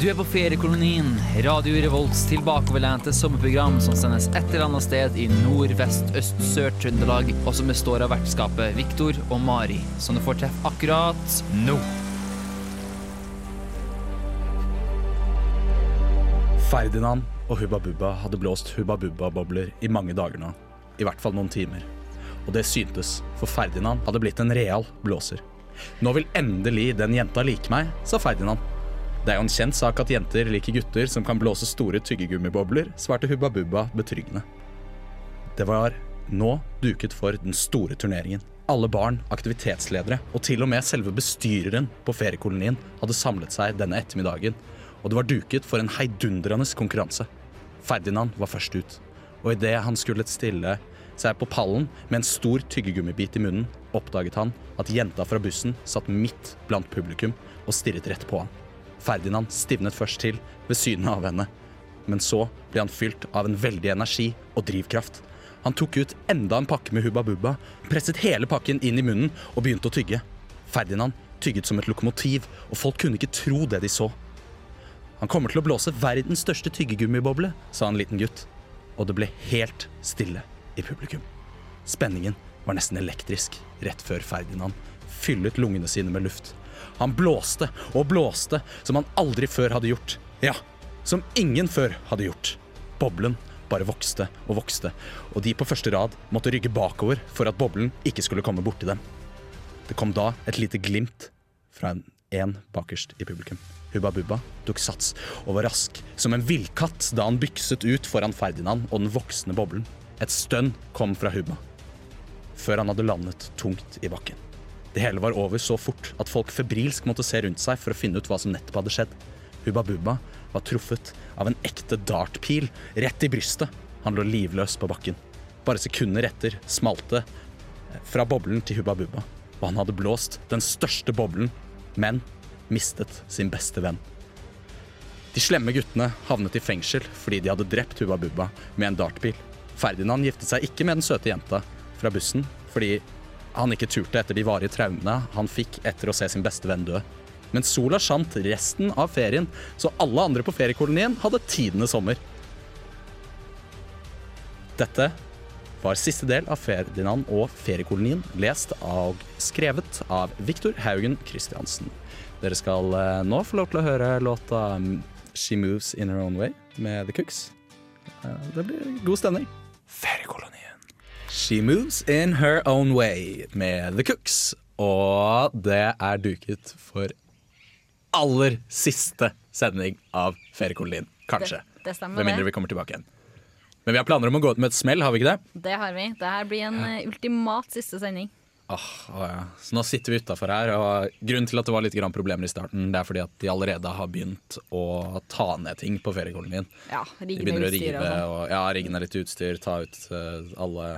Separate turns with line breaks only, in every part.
Du er på feriekolonien, Radio Revolts tilbakeoverlente sommerprogram som sendes et eller annet sted i nord, vest, øst, sør Trøndelag, og som består av vertskapet Viktor og Mari, som du får treffe akkurat nå.
Ferdinand og Hubba Bubba hadde blåst Hubba Bubba-bobler i mange dager nå. I hvert fall noen timer. Og det syntes, for Ferdinand hadde blitt en real blåser. Nå vil endelig den jenta like meg, sa Ferdinand. Det er jo en kjent sak at jenter liker gutter som kan blåse store tyggegummibobler, svarte Hubba Bubba betryggende. Det var nå duket for den store turneringen. Alle barn, aktivitetsledere og til og med selve bestyreren på feriekolonien hadde samlet seg denne ettermiddagen, og det var duket for en heidundrende konkurranse. Ferdinand var først ut, og idet han skulle stille seg på pallen med en stor tyggegummibit i munnen, oppdaget han at jenta fra bussen satt midt blant publikum og stirret rett på han. Ferdinand stivnet først til ved synet av henne, men så ble han fylt av en veldig energi og drivkraft. Han tok ut enda en pakke med Hubba Bubba, presset hele pakken inn i munnen og begynte å tygge. Ferdinand tygget som et lokomotiv, og folk kunne ikke tro det de så. Han kommer til å blåse verdens største tyggegummiboble, sa en liten gutt. Og det ble helt stille i publikum. Spenningen var nesten elektrisk rett før Ferdinand fyllet lungene sine med luft. Han blåste og blåste som han aldri før hadde gjort. Ja, som ingen før hadde gjort. Boblen bare vokste og vokste, og de på første rad måtte rygge bakover for at boblen ikke skulle komme borti dem. Det kom da et lite glimt fra en, en bakerst i publikum. Hubba Bubba tok sats og var rask som en villkatt da han bykset ut foran Ferdinand og den voksne boblen. Et stønn kom fra Hubba, før han hadde landet tungt i bakken. Det hele var over så fort at folk febrilsk måtte se rundt seg for å finne ut hva som nettopp hadde skjedd. Hubba Bubba var truffet av en ekte dartpil rett i brystet. Han lå livløs på bakken. Bare sekunder etter smalt det fra boblen til Hubba Bubba, og han hadde blåst den største boblen, men mistet sin beste venn. De slemme guttene havnet i fengsel fordi de hadde drept Hubba Bubba med en dartbil. Ferdinand giftet seg ikke med den søte jenta fra bussen fordi han ikke turte etter de varige traumene han fikk etter å se sin beste venn dø. Men sola skjant resten av ferien, så alle andre på feriekolonien hadde tidenes sommer. Dette var siste del av Ferdinand og feriekolonien, lest og skrevet av Viktor Haugen Christiansen. Dere skal eh, nå få lov til å høre låta mm, She Moves In Her Own Way med The Cooks. Eh, Det blir god stemning. Feriekolonien. She Moves In Her Own Way med The Cooks. Og det er duket for aller siste sending av Feriekolonien. Kanskje.
Det- det stemmer,
Med mindre
det.
vi kommer tilbake igjen. Men vi har planer om å gå ut med et smell, har vi ikke det?
Det har vi. Det her blir en eh, ultimat siste sending.
Ah, ah, ja. Så nå sitter vi utafor her, og grunnen til at det var litt grann problemer i starten, det er fordi at de allerede har begynt å ta ned ting på feriekolonien.
Ja,
De
rigge
begynner å
ned utstyret
rive
og sånn.
og ja, rigge ned litt utstyr, ta ut eh, alle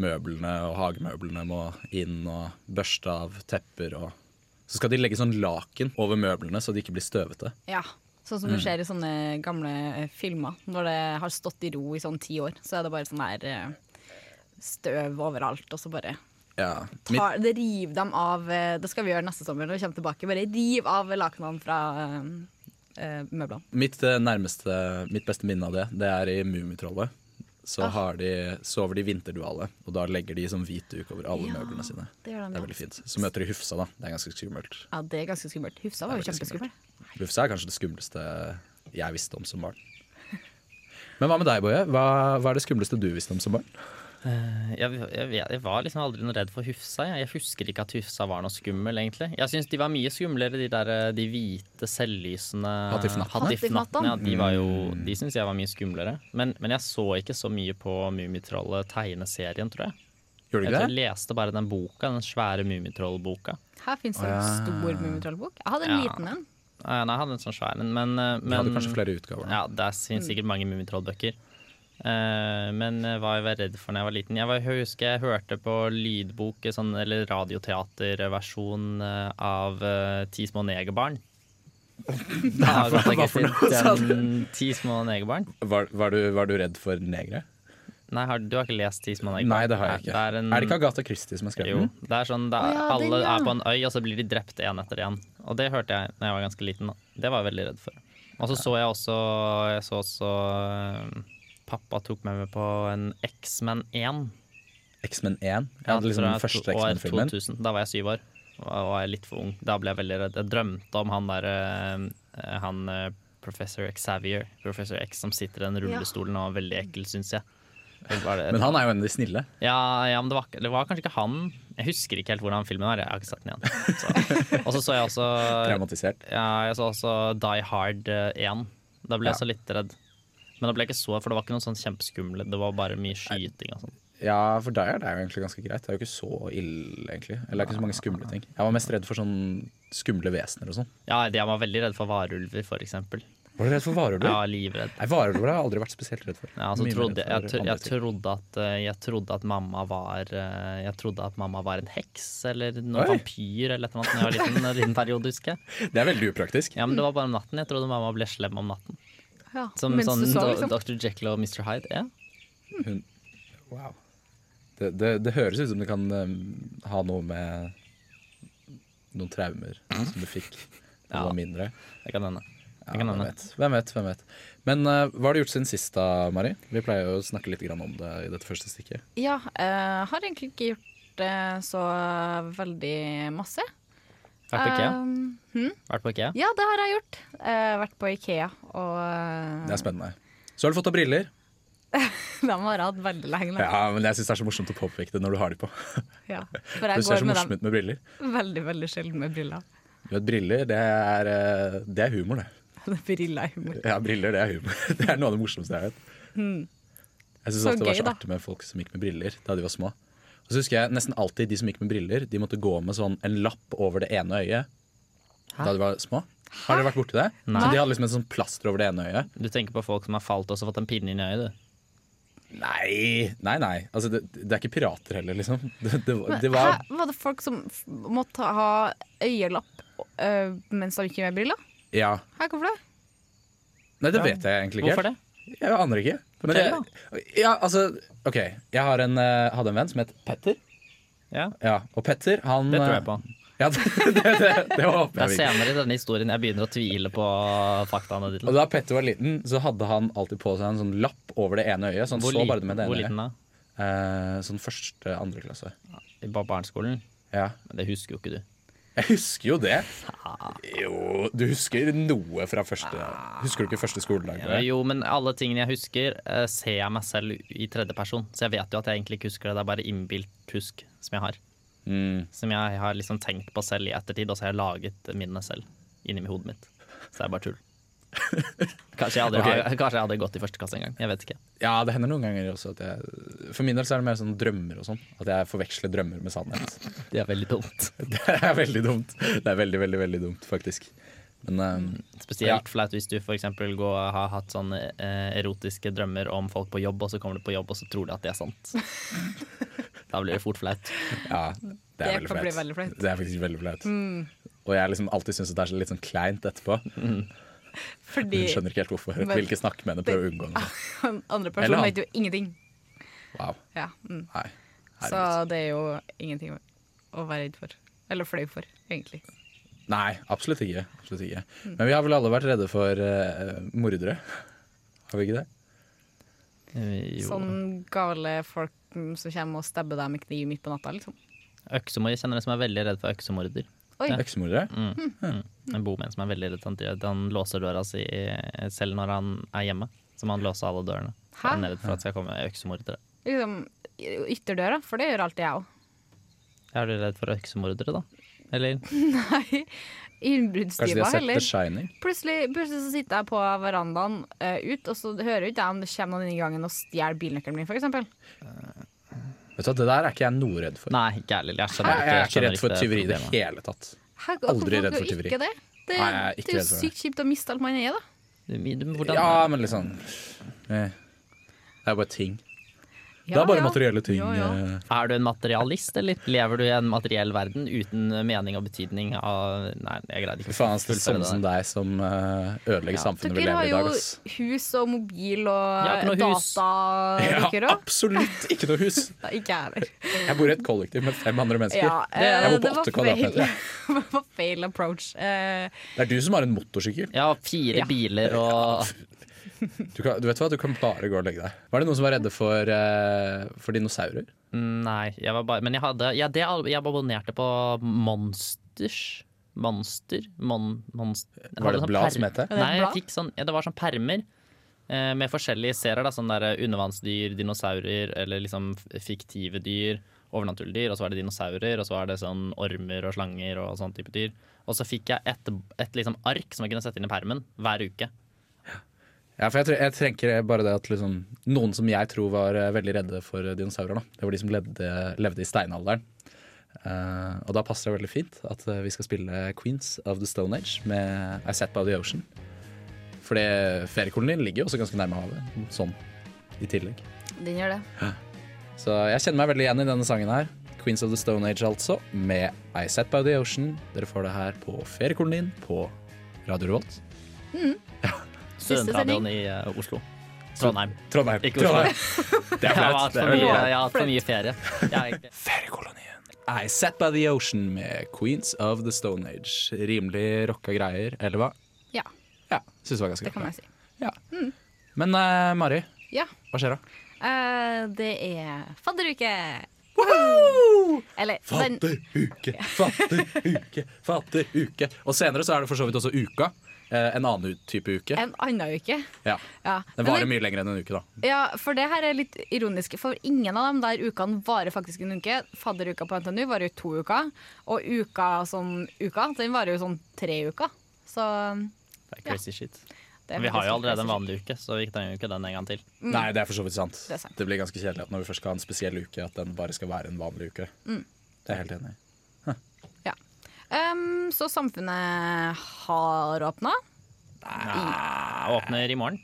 møblene, og hagemøblene må inn, og børste av tepper og Så skal de legge sånn laken over møblene så de ikke blir støvete.
Ja. Sånn
Mm.
som du ser i sånne gamle eh, filmer. Når det har stått i ro i sånn ti år, så er det bare sånn der eh, støv overalt, og så bare
Ja. Mitt,
tar, det river dem av eh, Det skal vi gjøre neste sommer når vi kommer tilbake. Bare riv av lakenene fra eh, eh, møblene.
mitt eh, nærmeste, mitt beste minne av det, det er i Mummitrollet. Så
Ah.
har de, sover de vinterduale, og da legger de sånn hvit duk over alle
Ja,
møblene sine.
det gjør de,
det
ja.
er veldig fint. Så møter de Hufsa, da. Det er ganske skummelt.
Ja, det er ganske skummelt. Hufsa var jo
Det er veldig
kjempeskummel.
Hufsa er kanskje det skumleste jeg visste om som barn. Men hva med deg, Boje? Hva, hva er det skumleste du visste om som barn?
Eh, Jeg, jeg, vet- jeg var liksom aldri noe redd for Hufsa. Jeg, jeg husker ikke at Hufsa var noe skummel, egentlig. Jeg syns de var mye skumlere, de der eh, de hvite, selvlysende
Hattifnattene?
Hattifnattene, Ja, de var jo,
Mm.
de syns jeg var mye skumlere. Men, men jeg så ikke så mye på Mummitrollet tegneserien, tror jeg.
Gjorde
Jeg
du
tror
ikke
jeg
det?
leste bare den boka, den svære Mummitroll-boka.
Her fins det
Å,
en
ja.
stor Mummitrollbok. Jeg hadde en
Ja.
liten en.
Nei, nei, jeg hadde en sånn svær en, men, eh,
Du hadde
men
kanskje flere utgaver. da.
Ja, det finnes sikkert mange Mummitroll-bøker. Eh, men eh, hva jeg var redd for da jeg var liten Jeg, var, jeg husker jeg hørte på lydbok, eh, sånn, eller radioteaterversjon eh, av eh, Ti små negerbarn. Av
hva- hva for noe, sa du?
Den Ti små negerbarn?
Var, var, du, var du redd for negre?
Nei, har, du har ikke lest Ti små negerbarn?
Nei, det har jeg
Nei,
ikke.
Det er, en,
Er det ikke Agatha Christie som har skrevet
Jo.
den?
Det er sånn, det
Å
er,
ja, den,
alle
ja.
er på en øy, og så blir de drept én etter én. Og det hørte jeg da jeg var ganske liten. Da. Det var jeg veldig redd for. Og så så jeg også, jeg så også eh, Pappa tok med meg på en X-Men 1.
X-Men 1. Ja, det er liksom
fra
den første
to- år
X-Men-filmen.
2000. Da var jeg syv år og og var jeg litt for ung. Da ble jeg veldig redd. Jeg drømte om han der eh, han eh, professor Xavier, professor X, som sitter i den rullestolen og er veldig ekkel, syns jeg. Det var det-
Men han er jo en av de snille.
ja, ja, men det var, ikke- det var kanskje ikke han. Jeg husker ikke helt hvordan filmen var. Jeg har ikke sett den igjen. Så. Og så så jeg også
Traumatisert.
ja, jeg så også Die Hard eh, 1. Da ble jeg
Ja.
så litt redd. Men da ble jeg ikke så, for det var ikke noen sånn kjempeskumle. Det var bare mye skyting og sånn.
Ja, for Die Hard er jo egentlig ganske greit. Det er jo ikke så ille, egentlig. Eller det er ikke så mange skumle ting. Jeg var mest redd for sånn skumle vesener og sånn.
Ja, jeg var veldig redd for varulver, for eksempel.
Var du redd for varulver?
Jeg var livredd.
Nei, varulver har jeg aldri vært spesielt redd for.
Ja, så
Mye mer
trodde,
redd
jeg,
for
tro- jeg,
andre ting.
trodde at, eh, jeg trodde at mamma var eh, Jeg trodde at mamma var en heks eller noen
Oi.
vampyr eller et eller annet da jeg var liten, en liten periode, husker jeg.
Det er veldig upraktisk.
Ja, men det var bare om natten. Jeg trodde mamma ble slem om natten.
Ja.
Som
Mens
sånn
du så,
Do-
liksom.
Dr. Jekyll og Mr. Hyde. Ja.
Hun... Wow. Det, det, det høres ut som det kan um, ha noe med noen traumer som du fikk da du
Ja.
var mindre.
Det kan hende.
Ja,
Det kan
hvem,
hende.
vet. hvem vet, hvem vet. Men eh, hva har du gjort siden sist, da, Mari? Vi pleier jo å snakke litt grann om det i dette første stikket.
Ja, eh, har egentlig ikke gjort eh, så veldig masse.
Vært på IKEA.
Um, hm?
Vært på IKEA.
Ja, det har jeg gjort. Eh, vært på Ikea, og eh,
Det er spennende. Så har du fått deg briller.
de har jeg hatt veldig lenge. nå.
Ja, men jeg syns det er så morsomt å påpeke det når du har de på.
Ja.
Du
For jeg
ser
går
så
med
morsom
dem
ut med briller.
veldig, veldig sjelden med briller.
Du vet, briller, det er, eh, det er humor, det.
briller er humor.
Ja, briller, det er humor. Det er noe av det morsomste jeg vet. Jeg syns
Hmm. Så
ofte det var så
gøy, da.
artig med folk som gikk med briller da de var små. Og så husker jeg nesten alltid de som gikk med briller, de måtte gå med sånn en lapp over det ene øyet da de var små. Har dere vært borti det?
Nei.
Så de hadde liksom en sånn plaster over det ene øyet.
Du tenker på folk som har falt og så fått en pinne inn i øyet, du.
Nei, nei, nei. Altså, det, det er ikke pirater heller, liksom. Det, det, var-
Men
det var
hæ, var det folk som f- måtte ha øyelapp eh, mens de gikk med briller?
Ja.
Hæ, hvorfor det?
Nei, det vet jeg egentlig ikke. helt.
Hvorfor det?
Jeg aner ikke. Men
Fortell,
jeg, ja, altså, OK. Jeg har en, eh, hadde en venn som het Petter.
Ja,
Ja, og Petter, han eh,
det tror jeg på.
Ja, det, det, det, det håper
Det er
jeg virkelig.
senere i denne historien jeg begynner å tvile på faktaene dine.
Og da Petter var liten, så hadde han alltid på seg en sånn lapp over det ene øyet. Så han
Hvor,
så
liten-
bare det med det
hvor
ene
liten
øyet.
da?
Eh, sånn første, andre klasse.
I bar- barneskolen?
Ja.
Men det husker jo ikke du.
Jeg husker jo det. Jo, du husker noe fra første Husker du ikke første skoledag?
Ja,
Bare?
Jo, men alle tingene jeg husker, eh, ser jeg meg selv i tredjeperson. Så jeg vet jo at jeg egentlig ikke husker det. Det er bare innbilt husk som jeg har.
Mm.
Som jeg har liksom tenkt på selv i ettertid, og så har jeg laget minnene selv inni hodet mitt. Så det er bare tull. Kanskje jeg, aldri,
Ok.
har, kanskje jeg hadde gått i første klasse en gang. Jeg vet ikke.
Ja, det hender noen ganger også at jeg For min del så er det mer sånn drømmer og sånn. At jeg forveksler drømmer med sannhet.
Det er veldig dumt.
Det er veldig dumt. Det er veldig, veldig, veldig dumt, faktisk. Men eh, Ja.
Spesielt flaut hvis du f.eks. har hatt sånne eh, erotiske drømmer om folk på jobb, og så kommer du på jobb og så tror du at det er sant. da blir det fort flaut.
Ja, det er
Det
veldig
kan bli
flaut.
veldig flaut. Mm.
Det er faktisk veldig flaut. Og jeg har liksom alltid syntes det er så litt sånn kleint etterpå.
Fordi
Hun skjønner ikke helt hvorfor.
Men- Ah.
Vil ikke snakke med henne, prøver å unngå henne.
den andre
Eller
personen
han.
vet jo ingenting.
Wow.
Ja, mm.
Nei.
Så
Herregud.
det er jo ingenting å- å være redd for. Eller flau for, egentlig.
Nei, absolutt ikke. absolutt ikke.
Mm.
Men vi har vel alle vært redde for eh, mordere? Har vi ikke det?
Eh, Jo.
Sånn gale folk mm, som kommer og stabber deg med kniv midt på natta, liksom.
Øksemor, jeg kjenner en som er veldig redd for øksemorder.
Oi,
Øksemordere?
Mm. En bomenn som er veldig redd for at han- at han låser døra si eh, selv når han er hjemme. Så må han låse alle dørene. For
Hæ?
han er redd for at det skal komme øksemordere.
liksom y- ytterdøra, for det gjør alltid jeg òg.
Er du redd for øksemordere, da? Eller?
Nei,
Kanskje de
innbruddsdiva
har sett
heller.
The Shining?
Plutselig, plutselig så sitter jeg på verandaen eh, ut, og så hører jo ikke jeg om det kommer noen inn i gangen og stjeler bilnøkkelen min, f.eks.
Vet du hva, Det der er ikke jeg noe redd for.
Nei, ikke jeg heller. Jeg skjønner
jeg, jeg er ikke
skjønner
redd for
det
tyveri i det
problemet.
hele tatt. Aldri redd for tyveri.
Ikke det? Det,
Nei, jeg er ikke
det
redd
er jo
for det.
sykt kjipt å miste alt man eier, da.
sånn,
Du- du- Hvordan,
Ja, men liksom eh, Det er bare ting. det er bare
ja.
materielle ting.
Ja, ja.
eh,
Er du en materialist, eller lever du i en materiell verden uten mening og betydning av Nei, jeg greide ikke
Fy faen, det er
fullføre
sånne som
der.
deg som eh, ødelegger samfunnet vi
Dere har
lever i
jo
dag. Ass.
hus og mobil
Jeg har
og
ikke noe hus.
data. Dere også?
absolutt ikke noe hus.
Nei, Ikke jeg heller.
Jeg bor i et kollektiv med fem andre mennesker.
Ja, eh,
jeg bor
det
på
var
åtte
feil-
kvadratmeter.
Det var feil approach. Eh,
Det er du som har en motorsykkel.
Ja, fire
Ja.
biler og
Du, kan, du vet hva, du kan bare gå og legge deg. Var det noen som var redde for, eh, for dinosaurer?
Nei, jeg var bare Men jeg hadde Ja, det al- jeg abonnerte på Monsters. Monster? Mon, monster.
Eh, Var det et blad som het det?
Er det et
sånn Nei, jeg
blad?
fikk sånn, ja, det var sånn permer eh, med forskjellige serier. Da, sånn der eh, undervannsdyr, dinosaurer eller liksom f- fiktive dyr. Overnaturlige dyr, og så var det dinosaurer, og så var det sånn ormer og slanger og sånn type dyr. Og så fikk jeg et, et liksom ark som jeg kunne sette inn i permen hver uke.
Ja, for jeg, tre- jeg tenker bare det at liksom, Noen som jeg tror var eh, veldig redde for eh, dinosaurer, da. det var de som levde, levde i steinalderen. Eh, og da passer det veldig fint at eh, vi skal spille Queens of the Stone Age med I Set By The Ocean. Fordi feriekolonien ligger jo også ganske nærme havet, sånn i tillegg.
den gjør det.
Så jeg kjenner meg veldig igjen i denne sangen her. Queens of the Stone Age altså, med I Set By The Ocean. Dere får det her på feriekolonien på Radio Revolt.
Siste
Studentradioen i eh, Oslo. Trondheim.
Trondheim.
Ikke Oslo.
Trondheim. Det
Jeg
er
har
flaut.
hatt
Det
for
er veldig
mye,
flaut.
jeg har hatt for mye ferie. Jeg,
Feriekolonien. I Set By The Ocean med Queens of the Stone Age. Rimelig rocka greier, eller hva?
Ja,
Ja, syns det var ganske
det kan jeg
godt.
si.
Ja. Men eh, Mari,
Ja,
hva skjer da?
eh, det er fadderuke! Eller den
Fatteruke, fatteruke, fatteruke. Og senere så er det for så vidt også uka. Eh, en annen ut- type uke.
en annen uke.
Ja.
Ja.
Den
Men
varer
det-
mye lenger enn en uke, da.
Ja, for det her er litt ironisk, for ingen av dem der ukene varer faktisk en uke. Fadderuka på NTNU varer jo to uker, og uka som uka, den varer jo sånn tre uker. Så
det er crazy shit.
det er
Men vi har
faktisk
jo allerede en
crazy
vanlig uke, så vi trenger jo ikke den en gang til.
Nei, det er for så vidt sant.
Mm. Det er sant.
blir ganske kjedelig at når vi først skal ha en spesiell uke, at den bare skal være en vanlig uke.
Mm.
Det er jeg helt enig i.
shit. Ja. Um, så samfunnet har åpna.
Jeg åpner i morgen.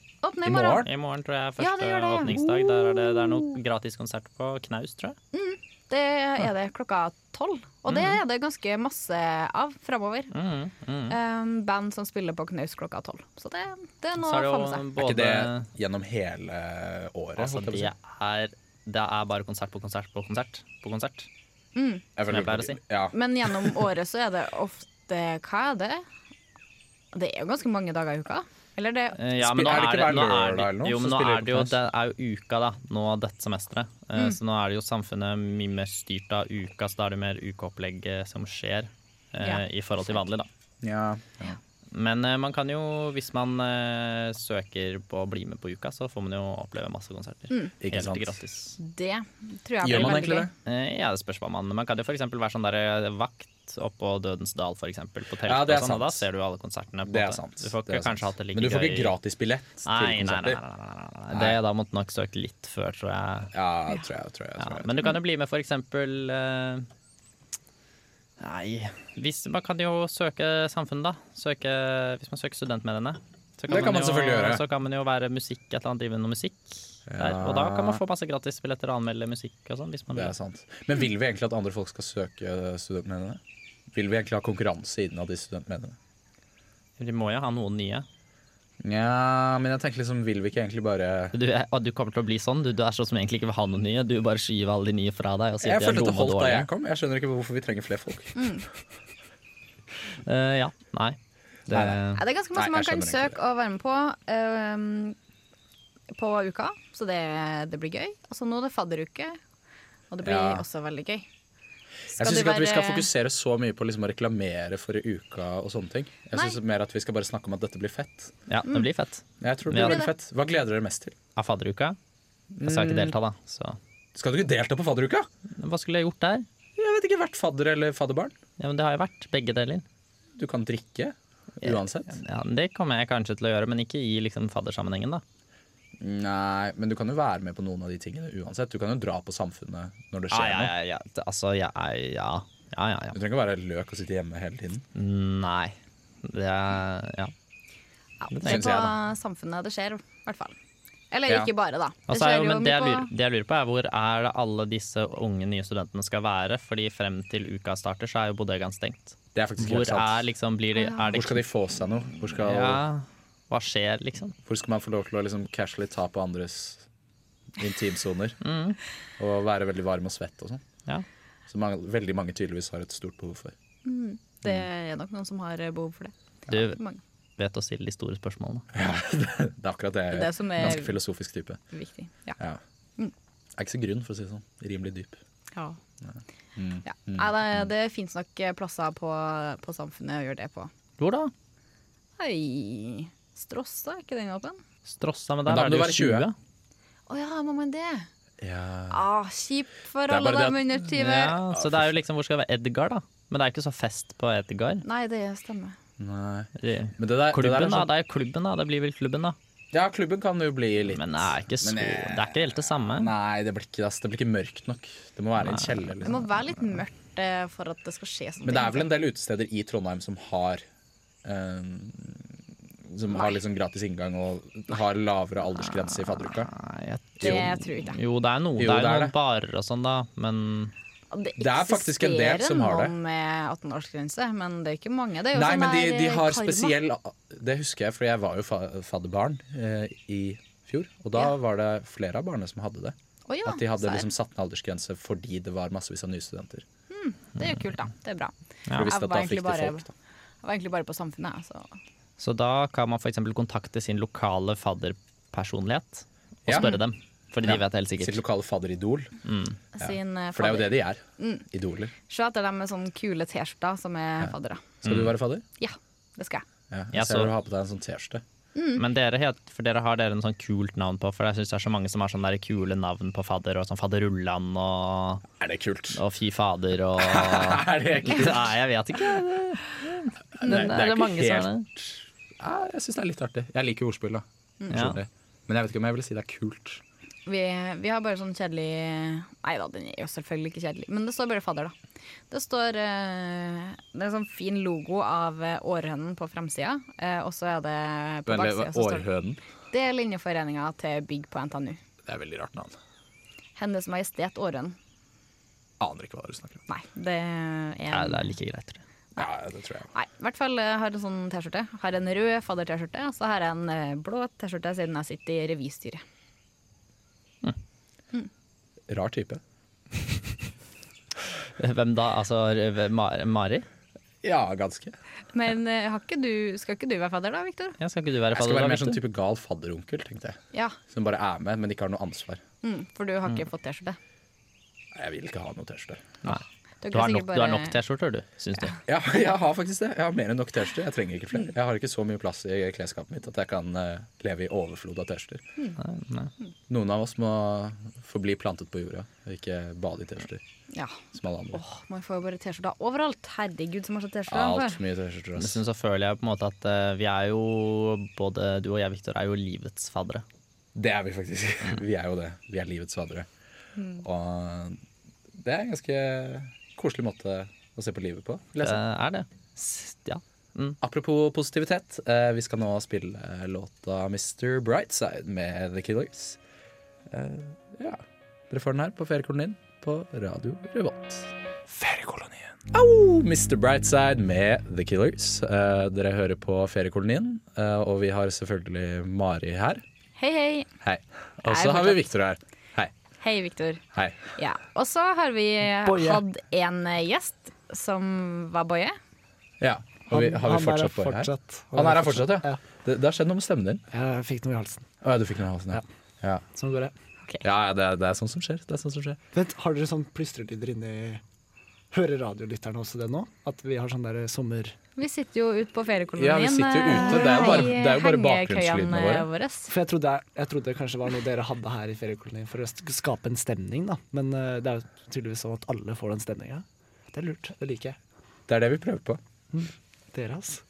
I
Åpner i
morgen?
morgen.
I morgen tror jeg er
Ja,
første
det gjør det.
åpningsdag. Der er det, det er noe gratis konsert på Knaus, tror jeg.
Det er det klokka tolv. Og det
Mm.
er det ganske masse av framover.
Mhm, mhm.
Um, band som spiller på knaus klokka tolv. Så det, det er noe
Så
å
er det
få med
jo
seg.
Er
både
ikke det gjennom hele året?
Altså,
holdt jeg på å
det
si?
er, det er bare konsert på konsert på konsert på konsert.
Jeg
som
føler
jeg pleier å
ikke-
si.
Ja.
Men gjennom året så er det ofte Hva er det? Det er jo ganske mange dager i uka. Eller det
Eh, Ja,
Spiller-
men nå
er det ikke
er det,
hver
nå er
lørdag eller
det,
noe,
jo,
så
men nå
spiller
er
de
det,
på
jo,
Knaus?
det er jo uka, da. Nå dette semesteret.
Mm.
Eh, Så nå er det jo samfunnet mye mer styrt av uka, så da er det mer ukeopplegget som skjer eh,
Ja.
i forhold til vanlig, da.
Ja.
Men eh, man kan jo, hvis man eh, søker på å bli med på uka, så får man jo oppleve masse konserter.
Ikke
Helt
sant.
gratis.
Det tror
Gjør
jeg blir
man
veldig
egentlig
gøy.
det?
Eh, Ja, det spørs hva man Man kan jo for eksempel være sånn der eh, vakt oppå Dødens Dal, for eksempel. På telt
Ja, det er
og sånn, og da
sant.
ser du alle konsertene. På
Det
en
er
måte.
sant.
Du får
Det
ikke
er sant.
kanskje hatt det like
Men du får ikke
gøy-
gratis billett til
nei, nei, nei, nei,
konserter.
nei, nei, nei. Det da måtte du nok søke litt før, tror jeg.
Ja, tror jeg. Tror jeg,
Ja,
tror jeg.
men du kan jo bli med, for eksempel eh, Nei hvis, Man kan jo søke samfunnet, da. Søke, hvis man søker studentmediene. Så
Det kan man
jo,
selvfølgelig gjøre.
Så kan man jo være musikk, et eller annet drive med noe musikk. Der. Og da kan man få masse gratisbilletter og anmelde musikk og sånn. hvis man
Det
vil.
er sant. Men vil vi egentlig at andre folk skal søke studentmediene? Vil vi egentlig ha konkurranse innad i studentmediene?
De må jo ha noen nye.
Nja, men jeg tenker liksom, vil vi ikke egentlig bare
Du, er, og du kommer til å bli sånn. Du, du er sånn som egentlig ikke vil ha noen nye. Du bare skyver alle de nye fra deg. Og sier
Jeg
at de er
følte at det
dumme og
holdt da
dårlige.
jeg kom. Jeg skjønner ikke hvorfor vi trenger flere folk.
Mm,
Eh, ja. Nei. Det,
Nei,
Ja, det er ganske
Nei,
masse
jeg
man kan
skjønner egentlig
søke og være med på ehm, på uka, så det, det blir gøy. Og så nå er det fadderuke, og det blir
Ja.
også veldig gøy.
Jeg
Skal
syns
det
ikke at vi skal
være-
fokusere så mye på liksom å reklamere for uka og sånne ting. Jeg syns mer at vi skal bare snakke om at dette blir fett.
ja, det blir fett.
Jeg tror det
Ja.
blir veldig fett. Hva gleder dere mest til?
Av fadderuka. Jeg skal ikke
Mm.
delta, da. Så
Skal du ikke delta på fadderuka?
hva skulle jeg gjort der?
Jeg vet ikke. Vært fadder eller fadderbarn?
Ja, men det har jeg vært. Begge deler.
Du kan drikke uansett.
Ja, men det kommer jeg kanskje til å gjøre, men ikke i liksom, faddersammenhengen, da.
Nei, men du kan jo være med på noen av de tingene uansett. Du kan jo dra på samfunnet når det
Ja,
skjer
Ah, ja,
noe.
ja, ja. Det- Altså, jeg er ja. Ja, ja, ja.
Du trenger ikke være løk og sitte hjemme hele tiden.
Nei. Det er Ja.
Ja,
Det
det er
synes
på
jeg, da.
samfunnet det skjer, i hvert fall. Eller
Ja.
ikke bare, da. Det
Altså, er
skjer
jo,
jo
men
mye
det, jeg
på-
lurer, det jeg lurer på er hvor er det alle disse unge nye studentene skal være? Fordi frem til uka starter så er jo bodegaen stengt.
Det er faktisk
Hvor
helt
er
sant.
liksom blir de, er det,
Hvor skal de få seg noe? Hvor skal,
ja, Hva skjer, liksom?
hvor skal man få lov til å liksom casually ta på andres intimsoner?
Mm.
Og være veldig varm og svett og sånn.
Ja.
Som mange, veldig mange tydeligvis har et stort behov for.
Det
Mm.
er nok noen som har eh, behov for det.
Du
Mange.
vet å stille de store spørsmålene.
Det er akkurat det jeg
Det er
gjør.
det som er- Mm.
Ganske filosofisk type.
Viktig. Ja.
Ja. Er ikke så grunn, for å si det sånn. Rimelig dyp.
Ja.
Mm.
Ja. Nei, det, det fins nok eh, plasser på, på samfunnet å gjøre det på.
Hvor da?
Hei Strossa, er ikke den åpen?
Strossa, men
Men
der
da må
er
du
det
være
jo
20.
20.
Å ja, må man det?
Ja.
Ah, kjipt for
Det er
alle
bare det
dem
at-
under 20.
Ja, så det er jo liksom hvor skal det være Edgar, da? Men det er ikke så fest på Edgar.
Nei, det stemmer.
Nei.
Det-
Men det der, det der
Klubben,
er
da.
sånn,
Det er klubben, da. Det blir vel klubben, da.
ja, klubben kan jo bli litt
Men det er ikke så
Men,
Det
eh,
er ikke helt det samme.
Nei, det blir ikke, ass, det blir ikke mørkt nok. Det må være en kjeller.
Det må
Liksom.
være litt mørkt eh, for at det skal skje sånne
Men det er vel en del utesteder i Trondheim som har eh, Som har liksom gratis inngang og har lavere aldersgrense i fadderuka.
Nei, jeg
Det tror jeg ikke.
Jo, det er noe.
Jo,
det er
det er
noen
det.
barer og sånn, da, men
Det,
Det er faktisk en del som har det.
eksisterer noen med 18-årsgrense, men det er ikke mange. Det er jo
Nei,
sånn
men de,
der,
de
eh,
har
karma.
spesiell Det husker jeg, for jeg var jo fa- fadderbarn eh, i fjor. Og da
Ja.
var det flere av barna som hadde det.
Å ja,
At de hadde
serr.
liksom satt ned aldersgrense fordi det var massevis av nye studenter.
Det er jo kult, da. Det er bra.
For de visste
Jeg
at da
var
fikk
egentlig
de
bare-
folk, da.
Jeg var egentlig bare på Samfunnet, jeg, så
Så da kan man f.eks. kontakte sin lokale fadderpersonlighet og
Ja.
spørre dem. Fordi de vet helt
Sitt
sikkert.
lokale fadderidol.
sin eh,
For det er jo
fadder.
det de er. Idoler.
Se etter dem med sånne kule T-skjorter som er faddere.
Skal du være fadder?
Ja, det skal jeg.
Mm. Ja,
Ja,
jeg ser
så-
du har på deg en sånn T-skjorte.
Men dere, het- for dere har dere en sånn kult navn på, for jeg syns det er så mange som har sånne der kule navn på fadder, og sånn fadderullan og,
Er det kult?
og fy fader og
Er det kult?
Nei, jeg vet ikke.
Nei,
det er mange som er det.
ja, Jeg syns det er litt artig. Jeg liker jo ordspill, da.
Mm.
Skjønner
Ja.
jeg. Men jeg vet ikke om jeg ville si det er kult.
Vi, vi har bare sånn kjedelig Nei da, den er jo selvfølgelig ikke kjedelig, men det står bare fadder, da. Det står eh, Det er en sånn fin logo av eh, århønen på fremsida, eh, og så er det på
Men
baksida. så står det-
Århønen.
Det er linjeforeninga til Bygg på NTNU.
Det er veldig rart navn.
Hennes Majestet Århønen.
Aner ikke hva du snakker om.
Nei, det er
Nei, det er like greit, tror jeg.
Ja, det tror jeg.
Nei, i hvert fall eh, har en sånn T-skjorte. Har en rød fadder-T-skjorte, og så har jeg en eh, blå T-skjorte siden jeg sitter i revystyret.
Rar type.
Hvem da? Altså Mar Mari?
Ja, ganske.
Men eh, har ikke du, skal ikke du være fadder da, Viktor?
Ja, skal ikke du være
Jeg skal
fadder?
være
da, liksom?
mer sånn
Victor?
type gal fadderonkel, tenkte jeg.
Ja,
Som bare er med, men ikke har noe ansvar.
mm, for du har ikke fått T-skjorte.
Nei, Jeg vil ikke ha noe T-skjorte.
Nei.
Dere
Du har
sikkert
nok, du har nok T-skjorter, du, syns du.
Ja, jeg har faktisk det. Jeg har mer enn nok T-skjorter. Jeg trenger ikke flere. Jeg har ikke så mye plass i klesskapet mitt at jeg kan eh, leve i overflod av T-skjorter.
Nei, nei.
Noen av oss må forbli plantet på jorda, og ikke bade i T-skjorter
Ja.
som alle andre.
Åh, man får jo bare T-skjorter overalt. Herregud, som har sett T-skjorter
Alt
før.
for mye T-skjorter. ass.
Dessuten så føler jeg på en måte at eh, vi er jo både du og jeg, Victor, er jo livets faddere.
Det er vi faktisk. Vi er jo det. Vi er livets faddere.
Mm.
Og det er en ganske koselig måte å se på livet på. vil jeg
Det
si.
er det. S- Ja. Mm.
Apropos positivitet, eh, vi skal nå spille eh, låta Mr. Brightside med The Killers. Eh, ja. Dere får den her på feriekolonien din på Radio Revolt. Feriekolonien. Au! Mr. Brightside med The Killers. Eh, dere hører på feriekolonien, eh, og vi har selvfølgelig Mari her.
Hei, hei.
Hei. Og
Hei,
så har vi
fortsatt.
Victor her. Hei.
Hei, Viktor.
Hei.
Ja. Og så har vi eh, hatt en eh, gjest som var Boje.
Ja. Og vi, har vi
er
fortsatt Boje her? Han er her fortsatt, ja. Det, det har skjedd noe med stemmen din.
Jeg fikk noe i halsen.
Å ja, du fikk noe i halsen, ja. Ja,
Sånn går det.
ja ja, det, er- det er sånn som skjer. Det er sånn som skjer.
Vent, har dere sånn plystretyder inni Hører radiolytterne også det nå? At vi har sånn der sommer...
Vi sitter jo ute på feriekolonien. eh,
Ja, vi sitter jo ute. Det er jo bare- det er jo bare bakgrunnslydene våre.
våre.
For jeg trodde, jeg trodde det kanskje var noe dere hadde her i feriekolonien for å skape en stemning, da. Men eh, det er jo tydeligvis sånn at alle får den stemninga. Det er lurt. Det liker jeg.
Det er det vi prøver på.
Dere, altså.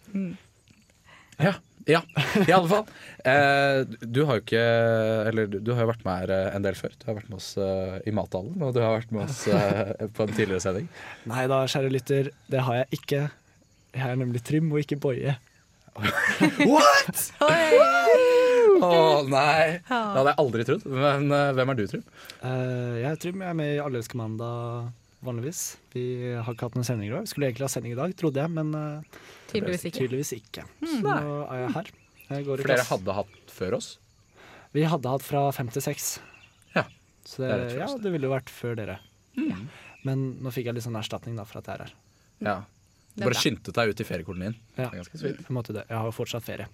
Ja. ja. I alle fall. Eh, du har jo ikke Eller du, du har jo vært med her eh, en del før. Du har vært med oss eh, i Mathallen, og du har vært med oss eh, på en tidligere sending.
Nei da, kjære lytter, det har jeg ikke. Jeg er nemlig Trym og ikke Boje.
What?! Å nei! Det hadde jeg aldri trodd. Men eh, hvem er du, Trym?
Eh, jeg tror jeg er med i Alle elsker mandag vanligvis. Vi har ikke hatt noen sending i dag. Skulle egentlig ha sending i dag, trodde jeg, men eh,
Tydeligvis ikke. Hmm.
tydeligvis ikke. Så nå er jeg her. Jeg går i
For dere
klasse.
hadde hatt før oss?
Vi hadde hatt fra fem til seks.
Ja.
Så det,
Det er rett før
ja,
oss, det. Hmm.
det ville jo vært før dere. Men nå fikk jeg litt sånn erstatning da, for at jeg er her.
Ja. Du
Det er
bare skyndte deg ut i feriekolonien. Det
Ja.
er ganske svitt.
På en måte det. Jeg har jo fortsatt ferie.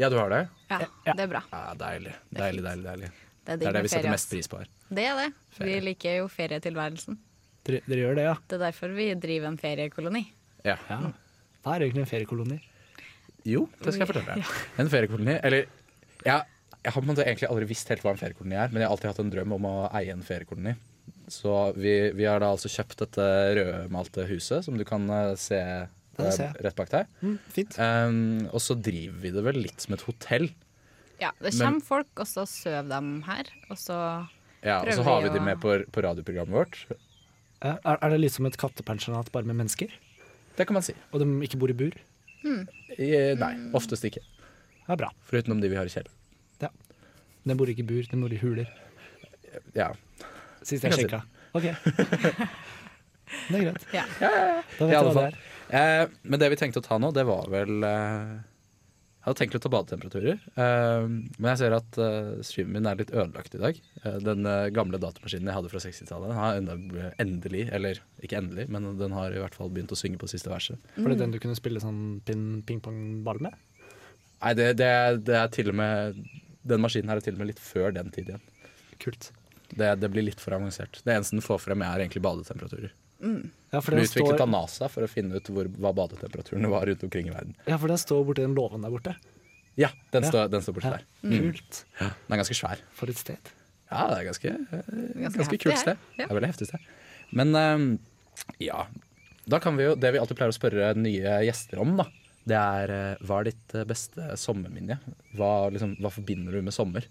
Ja, du har det?
Ja, det er bra.
Ja, deilig. Deilig, deilig, deilig.
Det er, digg
Det er det
med
vi setter
ferie,
mest
ass.
pris på her.
Det er det. Vi
Ferie.
liker jo ferietilværelsen.
Dere, dere gjør det, ja?
Det er derfor vi driver en feriekoloni.
Ja.
Hva er egentlig en feriekoloni?
Jo, det skal jeg fortelle deg. En feriekoloni Eller ja, jeg har på en måte egentlig aldri visst helt hva en feriekoloni er, men jeg har alltid hatt en drøm om å eie en feriekoloni. Så vi, vi har da altså kjøpt dette rødmalte huset, som du kan eh, se eh,
Ja, det ser jeg.
rett bak deg.
Mm, fint.
Um, og så driver vi det vel litt som et hotell.
Ja, det
Men-
kommer folk, og så sover de her. Og så
Ja, og så
Prøver
har
vi
vi de
å-
med på, på radioprogrammet vårt.
Ja, Eh, Er, er det litt som et kattepensjonat bare med mennesker?
Det kan man si.
Og de ikke bor i bur?
I, nei, oftest ikke.
Ja, bra.
Foruten om de vi har i kjelleren.
Ja. De bor ikke i bur, de bor i huler.
Ja.
Sist jeg
Jeg
sjekka.
kan
OK. Det er greit.
Ja.
Da
I alle
vet jeg hva det
fall.
er.
Eh, men det vi tenkte å ta nå, det var vel eh, Jeg hadde tenkt litt å ta badetemperaturer. Eh, men jeg ser at eh, streamen min er litt ødelagt i dag. Eh, den eh, gamle datamaskinen jeg hadde fra 60-tallet, den har enda, endelig, eller ikke endelig, men den har i hvert fall begynt å synge på siste verset.
Var det den du kunne spille sånn pin- ping-pong-ball med?
Nei, det, det, det er til og med Den maskinen her er til og med litt før den tid igjen.
Kult.
Det, det blir litt for avansert. Det eneste den får frem, er egentlig badetemperaturer.
Ja, for
Den ble
den
utviklet
står,
av NASA for å finne ut hvor, hva badetemperaturene var rundt omkring i verden.
ja, for den står borti den låven der borte.
Ja, den
Ja.
står, den står borte
Ja.
der.
Kult.
Den er ganske svær.
For et sted.
Ja, det er ganske, eh, ganske,
heftig
kult
her.
sted.
Ja.
Det er veldig heftig sted. Men ehm, ja, da kan vi jo Det vi alltid pleier å spørre nye gjester om, da, det er eh, hva er ditt eh, beste sommerminne? Hva, liksom, hva forbinder du med sommer?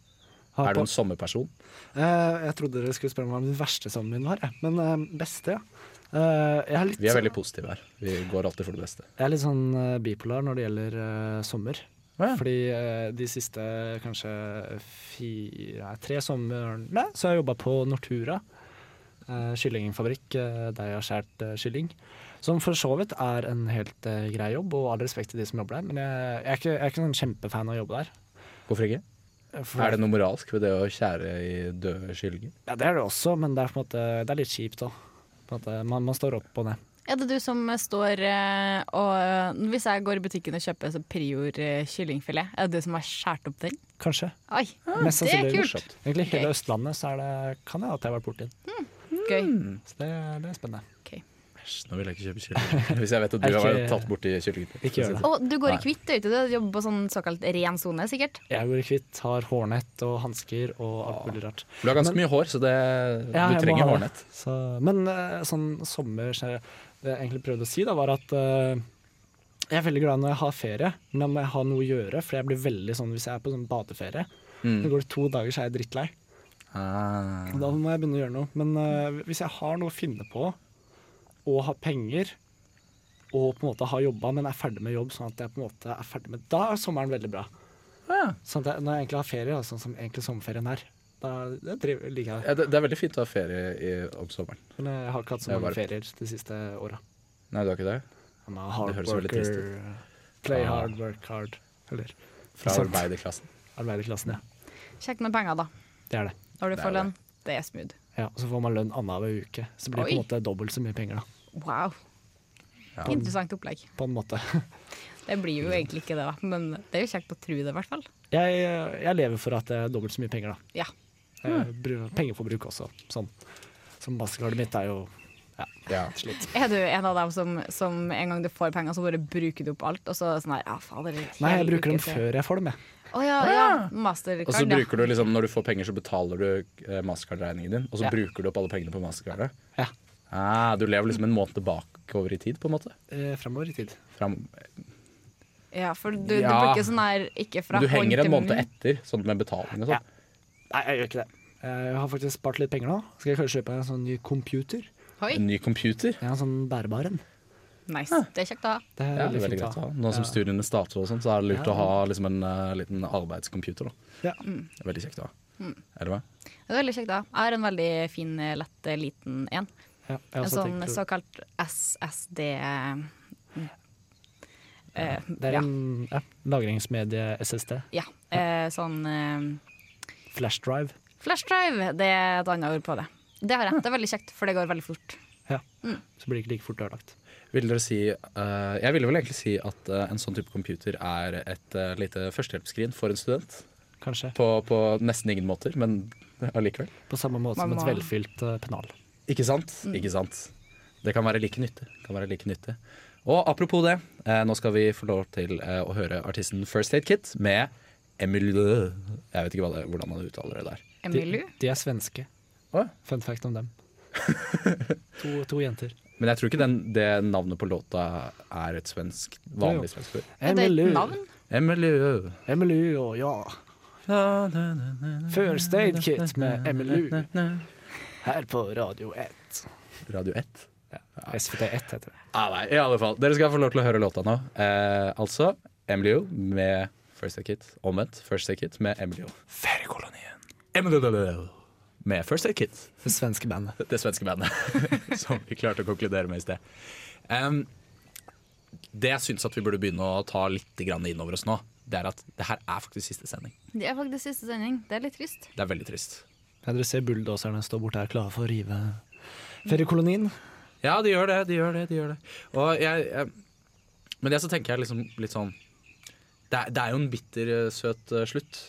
Har
Er du
på-
en sommerperson?
Eh, jeg trodde dere skulle spørre meg om den verste sommen min var, jeg. men eh, beste, ja. Eh, jeg, er litt,
Vi er
sånn-
veldig positive her. Vi går alltid for det beste.
jeg er litt sånn eh, bipolar når det gjelder eh, sommer.
Å ja.
Fordi eh, de siste kanskje fire, nei, tre somrene så har jeg jobba på Nortura. Uh, kyllingfabrikk eh, der jeg har skåret eh, kylling. Som for så vidt er en helt eh, grei jobb, og all respekt til de som jobber der, men jeg, jeg, er, ikke, jeg er ikke sånn kjempefan av å jobbe der.
Hvorfor ikke?
For-
Er det noe moralsk ved det å kjære i døde skyldinger?
Ja, det er det også, men det er, på en måte, det er litt kjipt òg. Man, man står opp og ned.
Er det du som står eh, og eh, Hvis jeg går i butikken og kjøper så Prior eh, kyllingfilet, er det du som har skåret opp den?
Kanskje.
Oi,
Ah,
Mest
Ah, det er
sannsynlig.
kult!
Egentlig hele
Gøy.
Østlandet så er det, kan jeg at jeg har vært borti den.
Gøy.
Så det, det er spennende.
Ok.
Æsj, nå vil jeg ikke kjøpe kylling. Hvis jeg vet at du
Er
har
ikke-
tatt borti kyllingen.
Ikke gjør det.
Og du går
Nei.
i hvitt, er du ikke det? Du jobber på sånn såkalt ren sone, sikkert?
Jeg går i hvitt, har hårnett og hansker og alt mulig rart.
Du har ganske mye hår, så det,
Ja, jeg
Ah. du
må
trenger
ha det.
hårnett.
Så, men eh, sånn sommer så Det jeg egentlig prøvde å si, da, var at eh, jeg er veldig glad når jeg har ferie, men da må jeg ha noe å gjøre. For jeg blir veldig sånn hvis jeg er på sånn badeferie.
Mm.
Så går det to dager, så er jeg drittlei.
Ah.
Da må jeg begynne å gjøre noe. Men eh, hvis jeg har noe å finne på, og har penger, og på en måte har jobba, men er ferdig med jobb, sånn at jeg på en måte er ferdig med Da er sommeren veldig bra.
Ja.
Sånn at jeg, når jeg egentlig har ferie, da, sånn som egentlig sommerferien er, da det driver, liker jeg det.
Ja, det, det er veldig fint å ha ferie i, om sommeren.
Men jeg har ikke hatt så
Det er
mange
bare-
ferier de siste åra.
Nei, du har ikke det?
Det
høres veldig trist
Play
Ja.
hard, work hard. Eller
Fra
Sant.
arbeiderklassen.
arbeiderklassen, ja.
Kjekt med penger, da.
Det er det.
Når du
Det er
får
det.
lønn. Det er smooth.
Ja, og så får man lønn annenhver uke. Så blir det på en
Oi.
måte dobbelt så mye penger, da.
Wow.
Ja.
Interessant opplegg.
På en måte.
Det blir jo egentlig ikke det, da, men det er jo kjekt å tro det, i hvert fall.
Jeg, jeg lever for at det er dobbelt så mye penger, da.
Ja.
Eh, bru- Pengeforbruk også. Sånn. Så mastercardet mitt er jo ja,
Ja.
slitt.
Er du en av dem som, som en gang du får penger, så bare bruker du opp alt, og så sånn her Ja, fader. det er
Nei, jeg
hele
bruker dem
uke til».
før jeg får dem, jeg.
Å ja, ja. Mastercard.
Og så
ja.
bruker du liksom, Når du får penger, så betaler du eh, mastercard-regningen din, og så
Ja.
bruker du opp alle pengene på mastercardet.
Ja.
Ah, du lever liksom en måned bakover i tid, på en måte.
Eh, Fremover i tid.
Fram,
Ja, for du, du
Ja.
bruker sånn her ikke fra
men du
hånd
henger
til
en måned
munn.
etter, sånn med betaling og
Ja.
sånn.
Nei, jeg gjør ikke det. Eh, Jeg har faktisk spart litt penger nå. Skal jeg kanskje kjøpe en sånn ny computer?
Oi,
En ny computer?
Ja, en sånn bærbar en.
Nice. Det er kjekt å ha.
Det
Ja,
er
det
veldig
er veldig
fint
greit å ha.
ha.
Nå som
Ja.
studiene starter, og sånt, så er det lurt
Ja.
å ha liksom en eh, liten arbeidscomputer. Da.
Ja.
Mm.
Det er veldig kjekt å ha. Er det hva?
Det er veldig kjekt å ha. Jeg har en veldig fin, eh, lett, eh, liten en.
Ja, jeg har
En
også
sånn
tenkt på-
såkalt SSD eh, eh,
Det er
ja.
en ja, lagringsmedie SSD.
ja. Eh, sånn eh,
Flashdrive.
Flashdrive, det er et annet ord på det. Det har jeg. Det er veldig kjekt, for det går veldig fort.
Ja. Så blir det ikke like fort ødelagt.
Vil dere si, eh, jeg ville vel egentlig si at eh, en sånn type computer er et eh, lite førstehjelpsskrin for en student.
Kanskje.
På, på nesten ingen måter, men allikevel.
På samme måte som
Man
et
må-
velfylt eh, pennal.
Ikke sant? Mm. Ikke sant? Det kan være like nyttig. Kan være like nyttig. Og apropos det, eh, nå skal vi få lov til eh, å høre artisten First Aid Kit med Emil Jeg vet ikke hva det, hvordan man uttaler det der.
De,
Emilu?
de er svenske.
Å, ja.
Fun fact om dem. to, to jenter.
Men jeg tror ikke den, det navnet på låta er et svensk,
Jo.
vanlig svensk ord.
Er det et navn?
Emily
Emily og ja. First Aid Kit med Emily her på Radio 1.
Radio 1.
SVT1 heter det.
Ah, nei, I alle fall, dere skal få lov til å høre låta nå. Eh, altså Emily O med First Aid Kit. Omvendt First Aid Kit med Emily O. Feriekolonien. Emily O med First Aid Kit.
Det svenske bandet.
Det svenske bandet. Som vi klarte å konkludere med i sted. Em, det jeg syns at vi burde begynne å ta litt grann inn over oss nå, det er at det her er faktisk siste sending.
Det er faktisk siste sending. Det er litt trist.
Det er veldig trist.
Ja, dere ser bulldoserne stå borte her klare for å rive feriekolonien.
Ja, de gjør det, de gjør det, de gjør det. Og jeg, jeg, men det så tenker jeg liksom litt sånn Det er, det er jo en bitter eh, søt eh, slutt.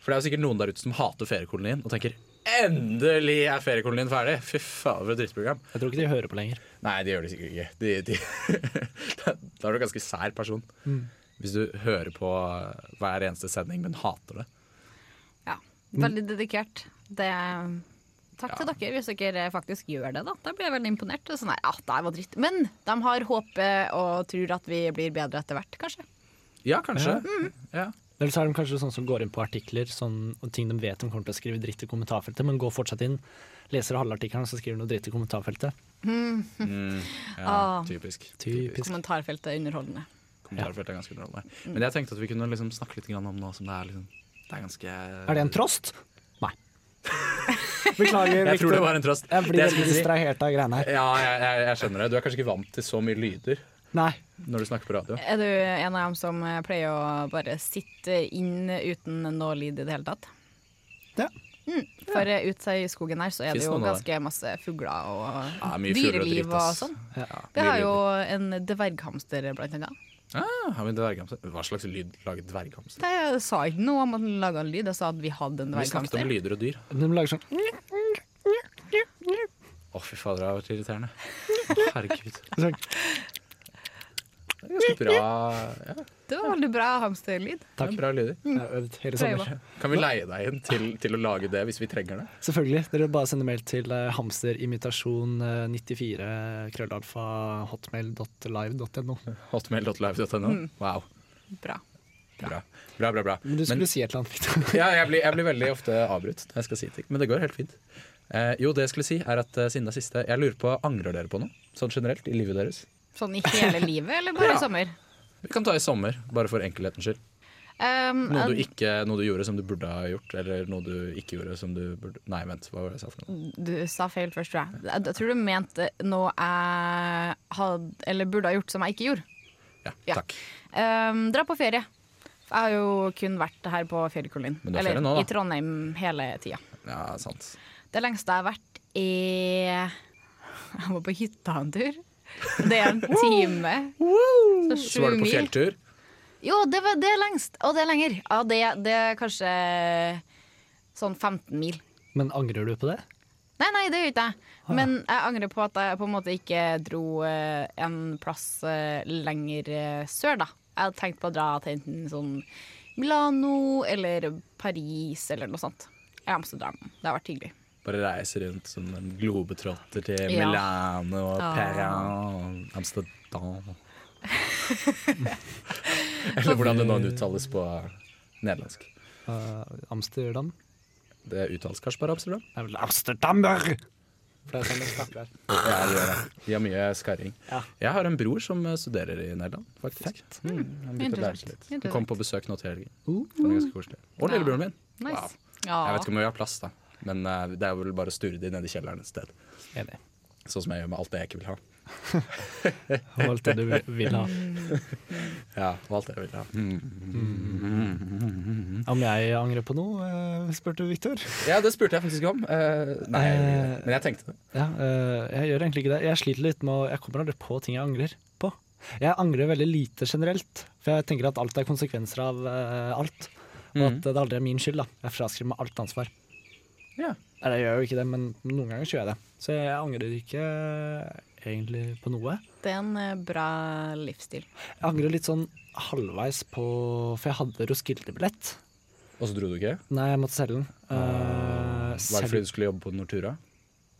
For det er jo sikkert noen der ute som hater feriekolonien og tenker Endelig er feriekolonien ferdig! Fy faen, for et drittprogram.
Jeg tror ikke de hører på lenger.
Nei, det gjør de sikkert ikke. De, de, da da er du en ganske sær person. Hvis du hører på eh, hver eneste sending, men hater det.
Ja. Veldig dedikert. Det Takk til dere hvis dere eh, faktisk gjør det. Da Da blir jeg veldig imponert. Det er Sånn, nei, ja, det her var dritt. Men de har håpet og tror at vi blir bedre etter hvert, kanskje.
Ja, kanskje. Ja.
Eller så er de kanskje sånn som går inn på artikler sånn, og ting de vet de kommer til å skrive dritt i kommentarfeltet, men går fortsatt inn, leser halve artikkelen og så skriver de noe dritt i kommentarfeltet.
ja
Ah.
typisk.
Typisk.
Kommentarfeltet er underholdende.
Kommentarfelt er ganske underholdende. Men jeg tenkte at vi kunne liksom snakke litt grann om nå som det er liksom Det er ganske
Er det en trost? Nei.
Jeg
Beklager,
tror det
Victor.
var en trost.
Jeg blir
Det jeg
veldig
skulle si-
distrahert av greiene her.
Ja, jeg, jeg, jeg skjønner det. Du er kanskje ikke vant til så mye lyder
Nei.
når du snakker på radio.
Er du en av dem som eh, pleier å bare sitte inn uten noe lyd i det hele tatt?
Ja.
For eh, ute i skogen her så er
Finnes
det jo
noen av
ganske masse fugler og
Ja, mye fugler og
dyreliv
dritt,
og,
ass.
sånn.
Ja.
Vi har
mye
jo en dverghamster blant annet.
Ah, har vi en dverghamster? Hva slags lyd lager dverghamster?
Det jeg sa ikke noe om at den laga en lyd, jeg sa at vi hadde en
Vi snakket om
dverghamster.
lyder og dyr. Å,
De lager sånn
fy fader, det har vært irriterende. Å, herregud.
sånn.
Det er ganske bra, ja, det
Det var veldig bra hamsterlyd.
er bra lyder.
Jeg har øvd hele
Prøver.
sommer.
Kan vi leie deg inn til, til å lage det hvis vi trenger det?
Selvfølgelig. Dere bare sender mail til eh, hamsterimitasjon94 krøllalfa hotmail.live.no.
Hotmail.live.no.
Mm.
Wow.
Bra.
Bra, bra, bra. bra.
Men du
Men
skulle si et eller annet, Victor.
ja, jeg, blir, jeg blir veldig ofte avbrutt når jeg skal si ting, men det går helt fint. Eh, jo, det jeg skulle si, er at eh, siden det er siste, jeg lurer på, angrer dere på noe? Sånn generelt, i livet deres?
Sånn i hele livet, eller bare
Ja.
i sommer?
Vi kan ta i sommer, bare for enkelhetens skyld.
Um,
Noe du,
jeg-
ikke, noe du gjorde som du burde ha gjort, eller noe du ikke gjorde som du burde Nei, vent, hva var det jeg sa for noe?
du sa feil først, tror jeg. Jeg jeg tror du mente noe jeg hadde, eller burde ha gjort som jeg ikke gjorde.
Ja,
Ja.
takk.
Ehm, dra på ferie. For Jeg har jo kun vært her på feriekolonien.
Men du har
Eller
ferie nå, da.
i Trondheim hele tida.
Ja, sant.
Det lengste jeg har vært, er Jeg var på hytta en tur. Det er en time. Så
Så var
sju
du på
mil.
fjelltur.
Jo, det, var, det er lengst. Og det er lenger. Ja, det, det er kanskje sånn 15 mil.
Men angrer du på det?
Nei, nei, det gjør ikke jeg. Men jeg angrer på at jeg på en måte ikke dro eh, en plass eh, lenger eh, sør, da. Jeg hadde tenkt på å dra til enten sånn Milano eller Paris eller noe sånt. Jeg har Amsterdam. Det har vært hyggelig.
Bare reise rundt som en globetrotter til
Ja.
Milano og
Ah.
Perrin, Amsterdam Eller hvordan det nå uttales på nederlandsk.
Eh, Amsterdam?
Det uttales kanskje bare Amsterdam?
Det er vel Amsterdammer! For det er sånn det snakker her.
Ja, det gjør det. De har mye skarring.
Ja.
Jeg har en bror som eh, studerer i Nederland, faktisk. Mm, han begynte å lære seg litt.
Interessant.
Han kom på besøk nå til helgen. Det var ganske koselig. Og lillebroren min.
Nice.
Wow.
Ja.
Jeg vet ikke om vi har plass, da. Men eh, det er vel bare å sture de ned i kjelleren et sted.
Enig.
Sånn som jeg gjør med alt det jeg ikke vil ha.
Og alt det du vil- vil ha.
Ja, og alt det jeg vil ha.
Om jeg angrer på noe, eh, spurte Viktor.
Ja, det spurte jeg faktisk om. Eh, nei, jeg gjorde ikke det. men jeg tenkte det.
Ja, eh, jeg gjør egentlig ikke det. Jeg sliter litt med å Jeg kommer aldri på ting jeg angrer på. Jeg angrer veldig lite generelt, for jeg tenker at alt er konsekvenser av eh, alt.
Mm.
Og at det aldri er min skyld. da Jeg fraskriver meg alt ansvar.
Ja.
Eller jeg gjør jo ikke det, men noen ganger så gjør jeg det. Så jeg angrer ikke eh, egentlig på noe.
Det er en eh, bra livsstil.
Jeg angrer litt sånn halvveis på For jeg hadde Roskilde-billett.
Og så dro du ikke?
Nei, jeg måtte selge den. Eh,
Var det
selv-
fordi du skulle jobbe på Nortura?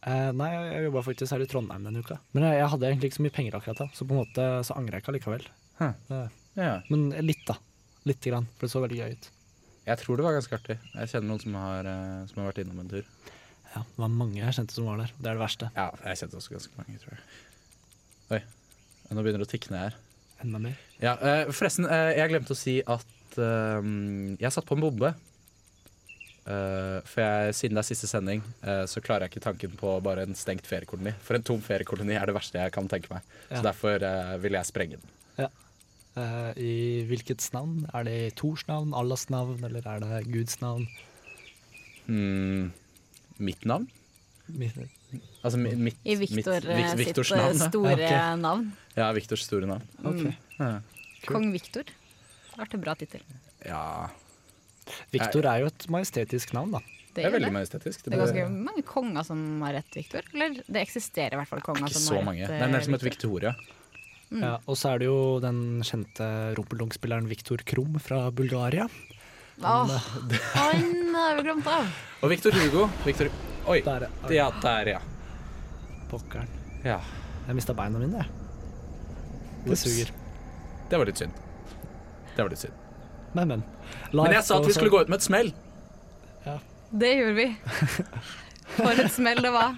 Eh, nei, jeg- jeg jobba faktisk her i Trondheim denne uka. Men jeg, jeg hadde egentlig ikke så mye penger akkurat da, så på en måte så angrer jeg ikke allikevel.
Hm.
Det-
Ja.
Men litt, da. Lite grann, for det så veldig gøy ut.
Jeg tror det var ganske artig. Jeg kjenner noen som har, eh, som har vært innom en tur.
Ja, Det var mange jeg kjente som var der. Det er det verste.
Ja, jeg kjente også ganske mange, tror jeg. Oi, nå begynner det å tikke ned her.
Enda mer.
Ja, eh, forresten, eh, jeg glemte å si at eh, jeg satt på en bombe. Eh, for jeg, siden det er siste sending, eh, så klarer jeg ikke tanken på bare en stengt feriekoloni. For en tom feriekoloni er det verste jeg kan tenke meg. Så
Ja.
derfor eh, vil jeg sprenge den.
Eh, I hvilkets navn? Er det i Tors navn, Allahs navn, eller er det Guds navn?
Mm, mitt navn?
Mitt-
Altså mi- mitt,
I Viktor
mitt, Vikt-
eh, sitt
Viktors
eh,
navn. ja.
store
Ja,
navn.
Ja, Viktors store navn.
Mm.
Ja.
Kong Viktor. Vært en bra tittel.
Ja,
Viktor er jo et majestetisk navn, da.
det er
det.
veldig majestetisk.
Det er ganske mange konger som har rett Viktor. Eller det eksisterer i hvert fall konger
ikke
som
så
har
mange.
rett.
Det
eh,
er mer som et
Viktor.
Victoria.
Ja, og så er det jo den kjente rumpeldunk-spilleren Viktor Krum fra Bulgaria.
Åh, han har vi glemt av!
Og Victor Hugo. Victor... Oi.
Der,
Ja, der, ja.
Pokkeren.
ja.
Jeg mista beina mine, jeg. Det
Ups.
suger.
Det var litt synd. Det var litt synd.
Men, men.
Men jeg sa at vi skulle gå ut med et smell.
Det gjorde vi. For et smell det var.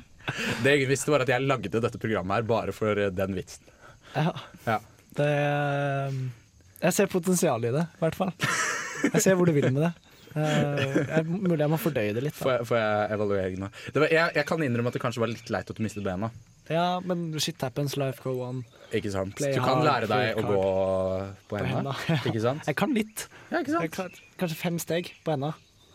Det jeg visste, var at jeg lagde dette programmet her bare for eh, den vitsen.
Ja,
Ja.
det eh, Jeg ser potensialet i det, i hvert fall. Jeg ser hvor du vil med det. Eh, jeg, mulig jeg må fordøye det litt.
Får
Da.
jeg, får jeg evaluering nå? Det var, jeg, jeg kan innrømme at det kanskje var litt leit at du mistet bena.
Ja, men shit happens, life go on.
Ikke sant?
Play
Du kan
hard,
lære deg
play
å gå på henda.
henda, ja.
Ikke sant?
Jeg kan litt.
Ja, ikke sant?
Jeg kan, kanskje fem steg på henda.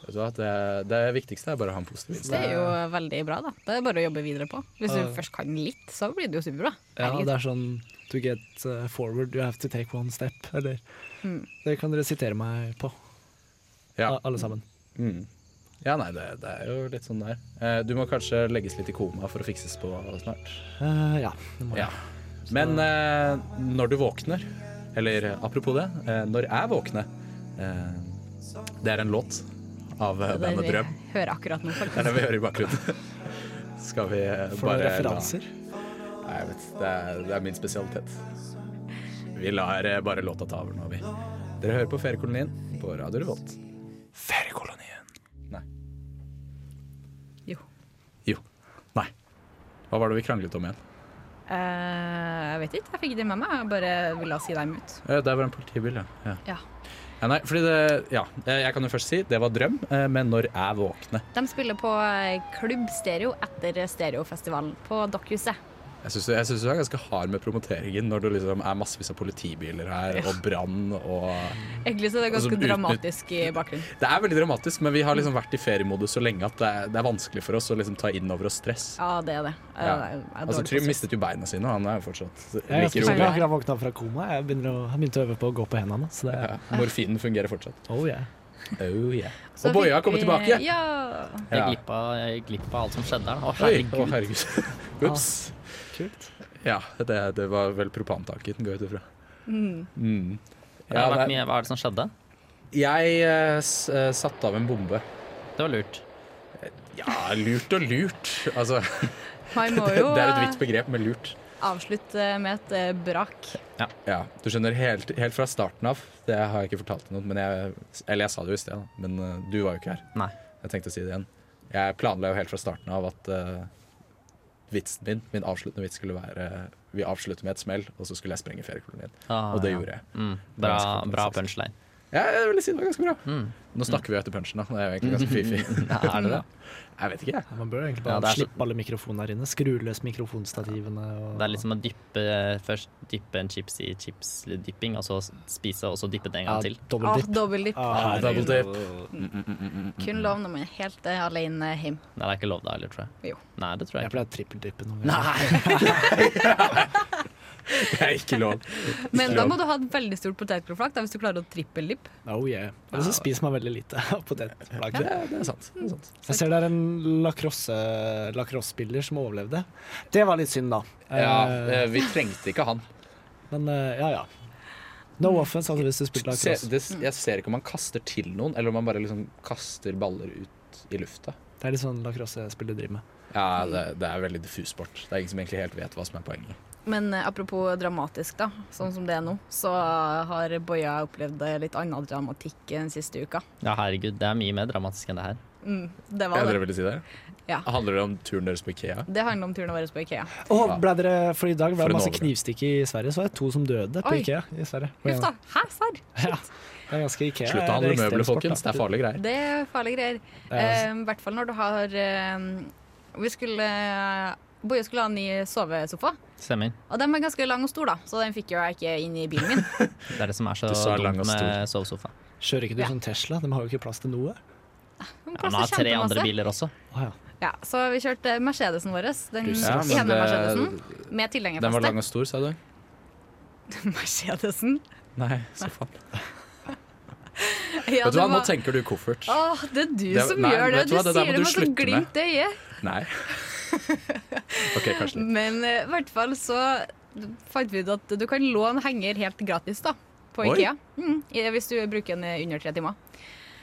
Vet du hva, det, det viktigste er bare å ha en positiv
Det
innstilling.
er jo veldig bra, da. Det er bare å jobbe videre på. Hvis du
Ja.
først kan litt, så blir det jo superbra.
Ja,
Herregud.
det er sånn To get eh, forward, you have to take one step. Eller
Mm.
Det kan dere sitere meg på,
Ja.
a- alle sammen.
Mm. ja, nei, det, det er jo litt sånn der. Eh, Du må kanskje legges litt i koma for å fikses på snart.
Eh, ja. det må jeg.
Ja. Men eh, når du våkner, eller eh, apropos det, eh, når jeg våkner eh, Det er en låt av eh,
Det er
bandet
det
Drøm.
vi hører akkurat nå,
Det er
faktisk.
det vi hører i bakgrunnen. Skal vi eh,
For noen
bare
referanser.
La, Nei, jeg vet, det, er, det er min spesialitet. Vi lar eh, bare låta ta over nå, vi. Dere hører på Feriekolonien på Radio Revolt. Feriekolonien Nei.
Jo.
Jo. Nei. Hva var det vi kranglet om igjen?
Eh, jeg vet ikke, jeg fikk det med meg. Jeg bare ville si dem ut.
Eh, Der var en politibil, ja. ja.
Ja.
Ja, nei, fordi det, ja, eh, jeg kan jo først si det var drøm, eh, men når jeg våkner
De spiller på eh, Klubb Stereo etter Stereofestivalen på Dokkhuset.
Jeg syns du jeg synes du er ganske hard med promoteringen når det liksom er massevis av politibiler her, og brann og
Egentlig så er det
Og som
ganske
utnytt-
dramatisk i bakgrunnen.
Det er veldig dramatisk, men vi har liksom vært i feriemodus så lenge at det er, det er vanskelig for oss å liksom ta inn over oss stress.
Ja, det er det. Eh,
Ja.
jeg er
Altså,
dårlig på
Trym
stress.
mistet jo beina sine, og han er jo fortsatt
Jeg er ganske
like
sjuk. Jeg
rolig.
har akkurat våkna opp fra koma. Jeg begynner å, har begynt å øve på å gå på hendene. Så det er
Ja, morfinen fungerer fortsatt.
Oh yeah.
Oh, yeah.
Så
Og Boje har
fikk
kommet
vi-
tilbake!
Ja.
Jeg
Ja.
glippa, jeg glippa alt som skjedde her. Å,
Oi,
herregud.
å herregud. Ups.
Kult.
Ja, det, det var vel propantanken, går jeg ut ifra. Mm.
det har
Ja,
vært
det-
mye. Hva er det som skjedde?
Jeg eh, s eh, satte av en bombe.
Det var lurt.
Ja, lurt og lurt. Altså,
Man må
det
jo
er et vidt
eh,
begrep med lurt.
avslutte med et eh, brak.
Ja, Du skjønner, helt, helt fra starten av, det har jeg ikke fortalt til noen, men jeg, eller jeg sa det jo i sted, da, men eh, du var jo ikke her.
Nei.
Jeg tenkte å si det igjen. Jeg planla jo helt fra starten av at eh, vitsen min, min avsluttende vits skulle være eh, Vi avslutter med et smell, og så skulle jeg sprenge feriekolonien.
Ah,
Og det
ja.
gjorde jeg.
Mm, bra
Ganske
bra
fantastisk.
punchline.
Ja, jeg vil si det var ganske bra. Nå snakker vi etter punchen, da. Det er jo egentlig ganske fiffig.
Ja, er det det?
Jeg vet ikke, jeg.
Man bør egentlig
Ja,
bare
det er så-
slippe alle mikrofonene her inne. Skru løs mikrofonstativene. Og
Det er litt som å dyppe eh, først dyppe en chips i chipsdypping, og så spise, og så dyppe det en gang til.
Ah,
dobbelt dipp.
Dobbeldypp.
Ah,
double
herregud.
dip.
Kun lov når man er helt eh, alene hjemme.
Nei, det er ikke lov da heller, tror jeg.
Jo.
Nei, det tror jeg
Jeg
ikke.
pleier å trippeldyppe noen ganger.
Nei!
Det er ikke lov.
Men da må du ha et veldig stort potetgullflak da, hvis du klarer å trippeldyppe.
Oh, yeah. Og
Ah.
så spiser man veldig lite av
Det,
potetflagget.
er- det er sant. Det er sant.
Jeg ser det er en lacrosse- lacrosse-spiller som overlevde. Det var litt synd, da. Eh,
vi trengte ikke han.
Men eh, ja, ja. No offense, altså, hvis du spilte lacrosse.
jeg ser ikke om han kaster til noen, eller om han bare liksom kaster baller ut i lufta.
Det er litt sånn lacrosse-spillere driver med.
Ja, det, det er veldig diffus sport. Det er ingen som egentlig helt vet hva som er poenget.
Men eh, apropos dramatisk, da, sånn som det er nå, så har Boya opplevd eh, litt annen dramatikk eh, den siste uka.
Ja, herregud, det er mye mer dramatisk enn det her.
Mm, det
Ja,
var
dere
det.
ville si det?
Ja.
Handler det om turen deres på Ikea?
Det handler om turen vår på Ikea.
Og ble dere, for I
For
dag ble
en
det masse
overgang.
knivstikk i Sverige, så var det to som døde på
Oi.
Ikea. i Sverige.
Huff da. Hæ, serr?
Ja, det er ganske Ikea.
Slutt
er
å handle møbler,
ekstremsport, da.
folkens. Det er farlige greier.
Det er farlige greier.
Det er-
Eh, I hvert fall når du har eh, Vi skulle Boje skulle ha en ny sovesofa.
Stemmer.
Og den var ganske lang og stor, da, så den fikk jo jeg ikke inn i bilen min.
Det er det som er så
Du sa lang
dumt
og
med sovesofa.
Kjører ikke du
Ja.
sånn Tesla? De har jo ikke plass til noe.
Den
Ja, man har
plasser
tre
kjempemasse.
andre biler også.
Å, ja.
Ja, så vi kjørte Mercedesen vår, den
Ja, men
ene
det-
Mercedesen, med
Den var
tilhengerfaste.
lang og stor, sa du?
Mercedesen.
Nei, så faen.
Ja,
vet du
det
hva, nå
var-
tenker du koffert.
Åh, det er du
Det-
som
nei,
gjør det.
vet du
Du,
hva, det der må
sier det
du
med sånn
slutte
glimt i øyet.
Nei. OK, kanskje litt.
Men eh, i hvert fall så fant vi ut at du kan låne henger helt gratis da, på
Oi.
Ikea. Mm, i- hvis du bruker den eh, under tre timer.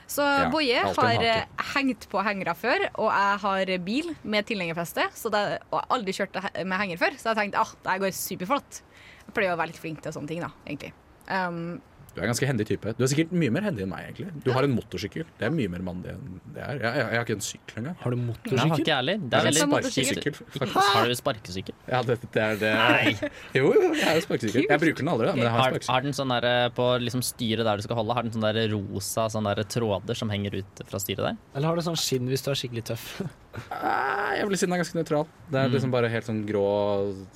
Så
Ja,
Boje
alltid en
har
hake.
eh, hengt på hengere før, og jeg har bil med tilhengerfeste, så det- og jeg har aldri kjørt he- med henger før, så jeg tenkte at ah, det her går superflott. Jeg pleier å være litt flink til sånne ting, da, egentlig. Um,
Du er en ganske hendig type. Du er sikkert mye mer hendig enn meg, egentlig. Du har en motorsykkel. Det er mye mer mandig enn det er. Jeg, jeg, jeg har ikke en sykkel engang.
Har du
Nei, har
motorsykkel?
ikke jeg heller. Det
Jeg
er
har
veldig
en
sparkesykkel, faktisk.
Har du sparkesykkel?
Ja, det, det er det. Jo, jo, jeg har en sparkesykkel. Jeg bruker den aldri, da, men jeg har
Har,
en sparkesykkel.
har den sånn der på liksom styret der du skal holde, har den sånn der rosa sånn der tråder som henger ut fra styret der?
Eller har du sånn skinn hvis du er skikkelig tøff?
Mhm. Nei, Ah, Jeg vil si den er ganske nøytral. Det er liksom bare helt sånn grå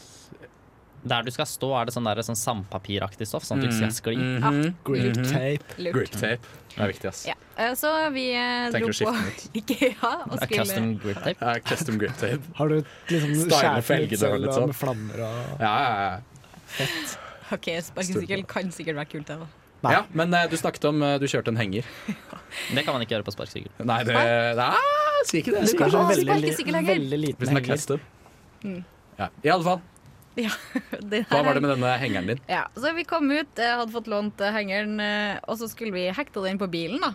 Der du skal stå, er det sånn der, sånn sandpapiraktig stoff, sånn at du ikke skal
Mm.
skli.
Mhm.
Grip tape.
Mm-hmm.
lurt.
Grip tape. Det er viktig, ass.
Ah, Ja. eh, Så vi eh,
Tenker
dro
å skifte
på
den ut.
Ikea og
Det er
skulle
Custom grip tape.
Ja, custom grip tape.
Har du liksom
Styler
skjært
felgene
ut selv
litt
og
sånn.
med flammer og
Ja, ja, ja.
OK, sparkesykkel kan sikkert være kult, det, da.
Nei.
ja men eh, du snakket om eh, du kjørte en henger.
Det kan man ikke gjøre på sparkesykkel.
Nei, det Nei, si ikke det.
Du
Si
kan
ikke
ha
det.
sånn veldig,
sparkesykkel
li-
lenger.
veldig liten
Hvis den er
henger.
custom. Ja. I alle fall,
Ja, det
hva
Mm. her
var
er-
det med denne hengeren din?
Ja, så vi kom ut, jeg hadde fått lånt eh, hengeren, eh, og så skulle vi hekte den på bilen da.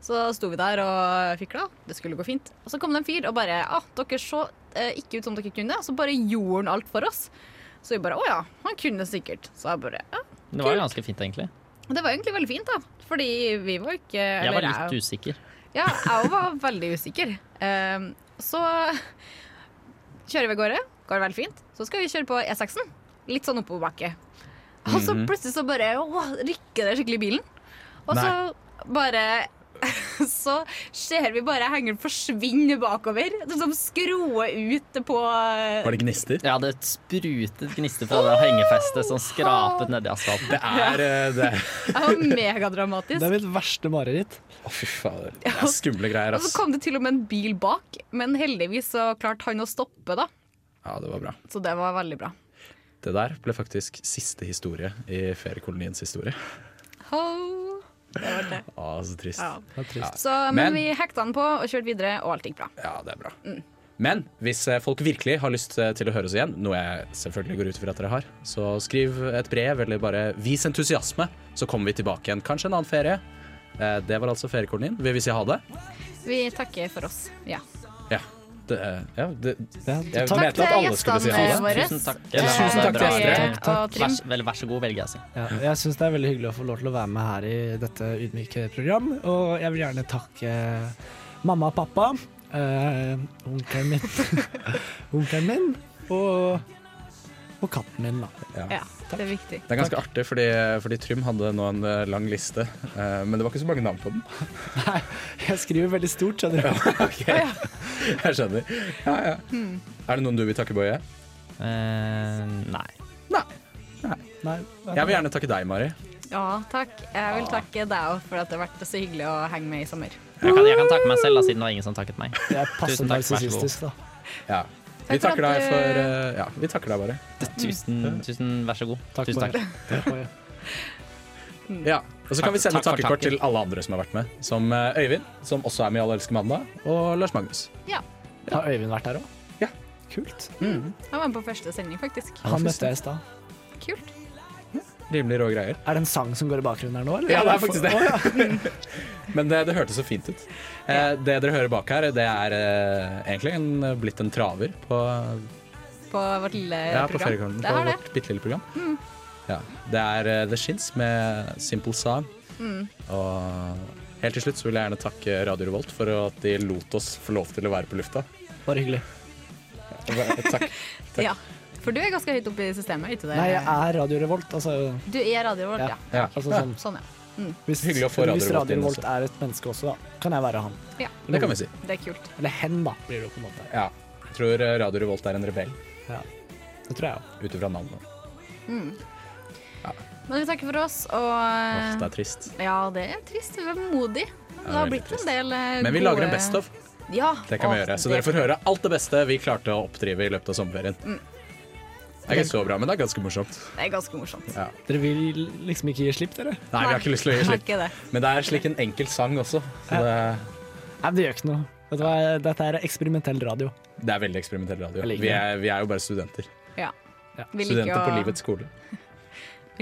Så sto vi der og fikla, det skulle gå fint. Og så kom det en fyr og bare, ah, dere så eh, ikke ut som dere kunne, så bare gjorde han alt for oss. Så vi bare, åja, han kunne sikkert. Så jeg bare, ja.
Det var jo ganske fint, egentlig.
Og Det var egentlig veldig fint da, fordi vi var ikke...
Jeg var
eller
litt usikker.
ja, jeg òg var veldig usikker. Ehm, så kjører vi av gårde, går veldig fint. Så skal vi kjøre på E6-en, litt sånn oppoverbakke. Og så
Mhm.
plutselig så bare åh, rykker det skikkelig i bilen. Og så bare Så ser vi bare hengeren forsvinne bakover. Som skroer ut på
Var det gnister?
Jeg hadde et sprutet gnister fra det hengefestet som skrapet nedi asfalten.
Det er eh, det er-
Det var megadramatisk.
Det er mitt verste mareritt.
Å, fy fader. Det er skumle greier,
Og
ass.
så kom det til og med en bil bak, men heldigvis så klarte han å stoppe, da.
Ja, det var bra.
Så det var veldig bra.
Det der ble faktisk siste historie i feriekoloniens historie.
Ho. Det var det.
Å, så trist.
Ja.
Ja,
Det er trist.
Så,
Men-
men, vi hekta den på og kjørte videre, og alt gikk bra.
det er bra.
Mm.
Men hvis eh, folk virkelig har lyst eh, til å høre oss igjen, noe jeg selvfølgelig går ut ifra at dere har, så skriv et brev eller bare vis entusiasme, så kommer vi tilbake igjen. Kanskje en annen ferie. Eh, Det var altså feriekolonien. Vil vi si ha det?
Vi takker for oss. Ja.
Ja. Det, eh, ja, det,
Ja,
jeg
takk.
mente at alle skulle si ha det.
våre.
Tusen takk.
Tusen takk til
Boje
dere.
og
Vær,
Trym.
så- vel, vær så god, velger jeg å si.
Ja, jeg syns det er veldig hyggelig å få lov til å være med her i dette ydmyke program. Og jeg vil gjerne takke mamma og pappa, eh, onkelen min, onkelen min og, og katten min, da.
Ja, det er viktig.
Det er ganske artig, fordi, fordi Trym hadde nå en eh, lang liste, eh, men det var ikke så mange navn på den.
Jeg skriver veldig stort, skjønner du.
Ok, Jeg skjønner. Ja, ja.
Hmm.
Er det noen du vil takke, Boje?
Eh, nei.
Nei.
Nei,
Jeg vil gjerne takke deg, Mari.
Ja, takk. Jeg vil takke deg òg for at det har vært så hyggelig å henge med i sommer.
Jeg kan, jeg kan takke meg selv, da, siden det var ingen som takket meg.
jeg er passe
Tusen takk, vær så god.
narsissistisk, da.
Ja. Vi
Takk for
takker
at
deg
du-
for eh, Ja, vi takker deg bare.
Tusen, tusen vær så god.
Takk
tusen
for
takk.
det.
Ja, og så kan
Takk-
vi sende
takk for
takkekort
takken.
til alle andre som har vært med. Som eh, Øyvind, som også er med i Alle elsker mandag, og Lars Magnus.
Har Øyvind vært der òg?
Ja.
Kult.
Jeg var med på første sending, faktisk.
Han møtte jeg i stad.
Kult.
Rimelig rå greier.
Er det en sang som går i bakgrunnen her nå, eller?
Ja, det er faktisk det. Men det, det hørtes så fint ut. Eh, det dere hører bak her, det er eh, egentlig en, blitt en traver på,
På vårt lille
ja, på
program.
feriekonten.
Det
På
har det.
vårt bitte lille program. Ja, det er eh, The Shins med Simple Song. Og helt til slutt så vil jeg gjerne takke Radio Revolt for at de lot oss få lov til å være på lufta.
Bare hyggelig.
Takk.
Ja. For du er ganske høyt oppe i systemet, ikke det?
Nei, jeg er Radio Revolt. Altså,
Du er radioen vår,
Ja.
ja.
Ja.
altså sånn,
Sånn, ja.
hvis,
Hyggelig å få Radio
hvis
Revolt
Radio
inn
Revolt
også.
er et menneske også, da, kan jeg være han.
ja.
Det kan vi si.
Det er kult.
Eller hen, da, blir det jo på en måte.
Ja. Jeg tror eh, Radio Revolt er en rebell,
Ja. Det tror jeg òg.
ut ifra navnet.
Men vi takker for oss,
Åh,
og
det er trist.
Ja, det er trist. Vi er modig. Det
veldig
har blitt
trist.
en del eh,
Men vi
gode-
lager en best of.
Ja.
Det kan vi
Åh,
gjøre. Så
det-
dere får høre alt det beste vi klarte å oppdrive i løpet av sommerferien.
Mm.
Det er ikke så bra, men det er ganske morsomt.
Det er ganske morsomt.
Ja.
Dere vil liksom ikke gi slipp, dere?
Nei, vi har ikke lyst til å gi
Har
slipp.
ikke det.
Men det er slik en enkel sang også. Så det,
Nei, men det gjør ikke noe. Vet du hva, dette er eksperimentell radio.
det er veldig eksperimentell radio.
Jeg liker
Vi er, vi er jo bare studenter.
Ja.
Ja.
Vi liker
Studenter på
å-
livets skole.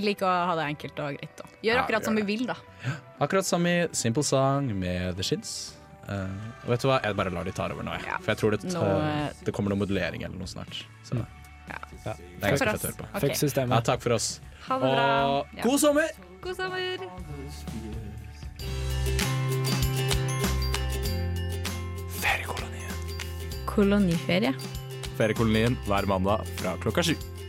Vi liker å ha det enkelt og greit. Da. Gjør
Ja,
akkurat
vi
som
gjør
vi vil, da.
Akkurat som i Simple Song med The Shins. Eh, og vet du hva, jeg bare lar de ta over nå, jeg.
Ja.
For jeg tror det,
Nå,
tar-
eh, Mm.
det kommer noe modulering eller noe snart. Så det
Ja.
er ganske
For
fett å
oss.
høre på.
Fuck
Ok.
Ja,
systemet.
takk for oss.
Ha det bra.
Og
Ja.
god sommer!
God sommer.
Feriekolonien.
Koloniferie.
Feriekolonien hver mandag fra klokka sju.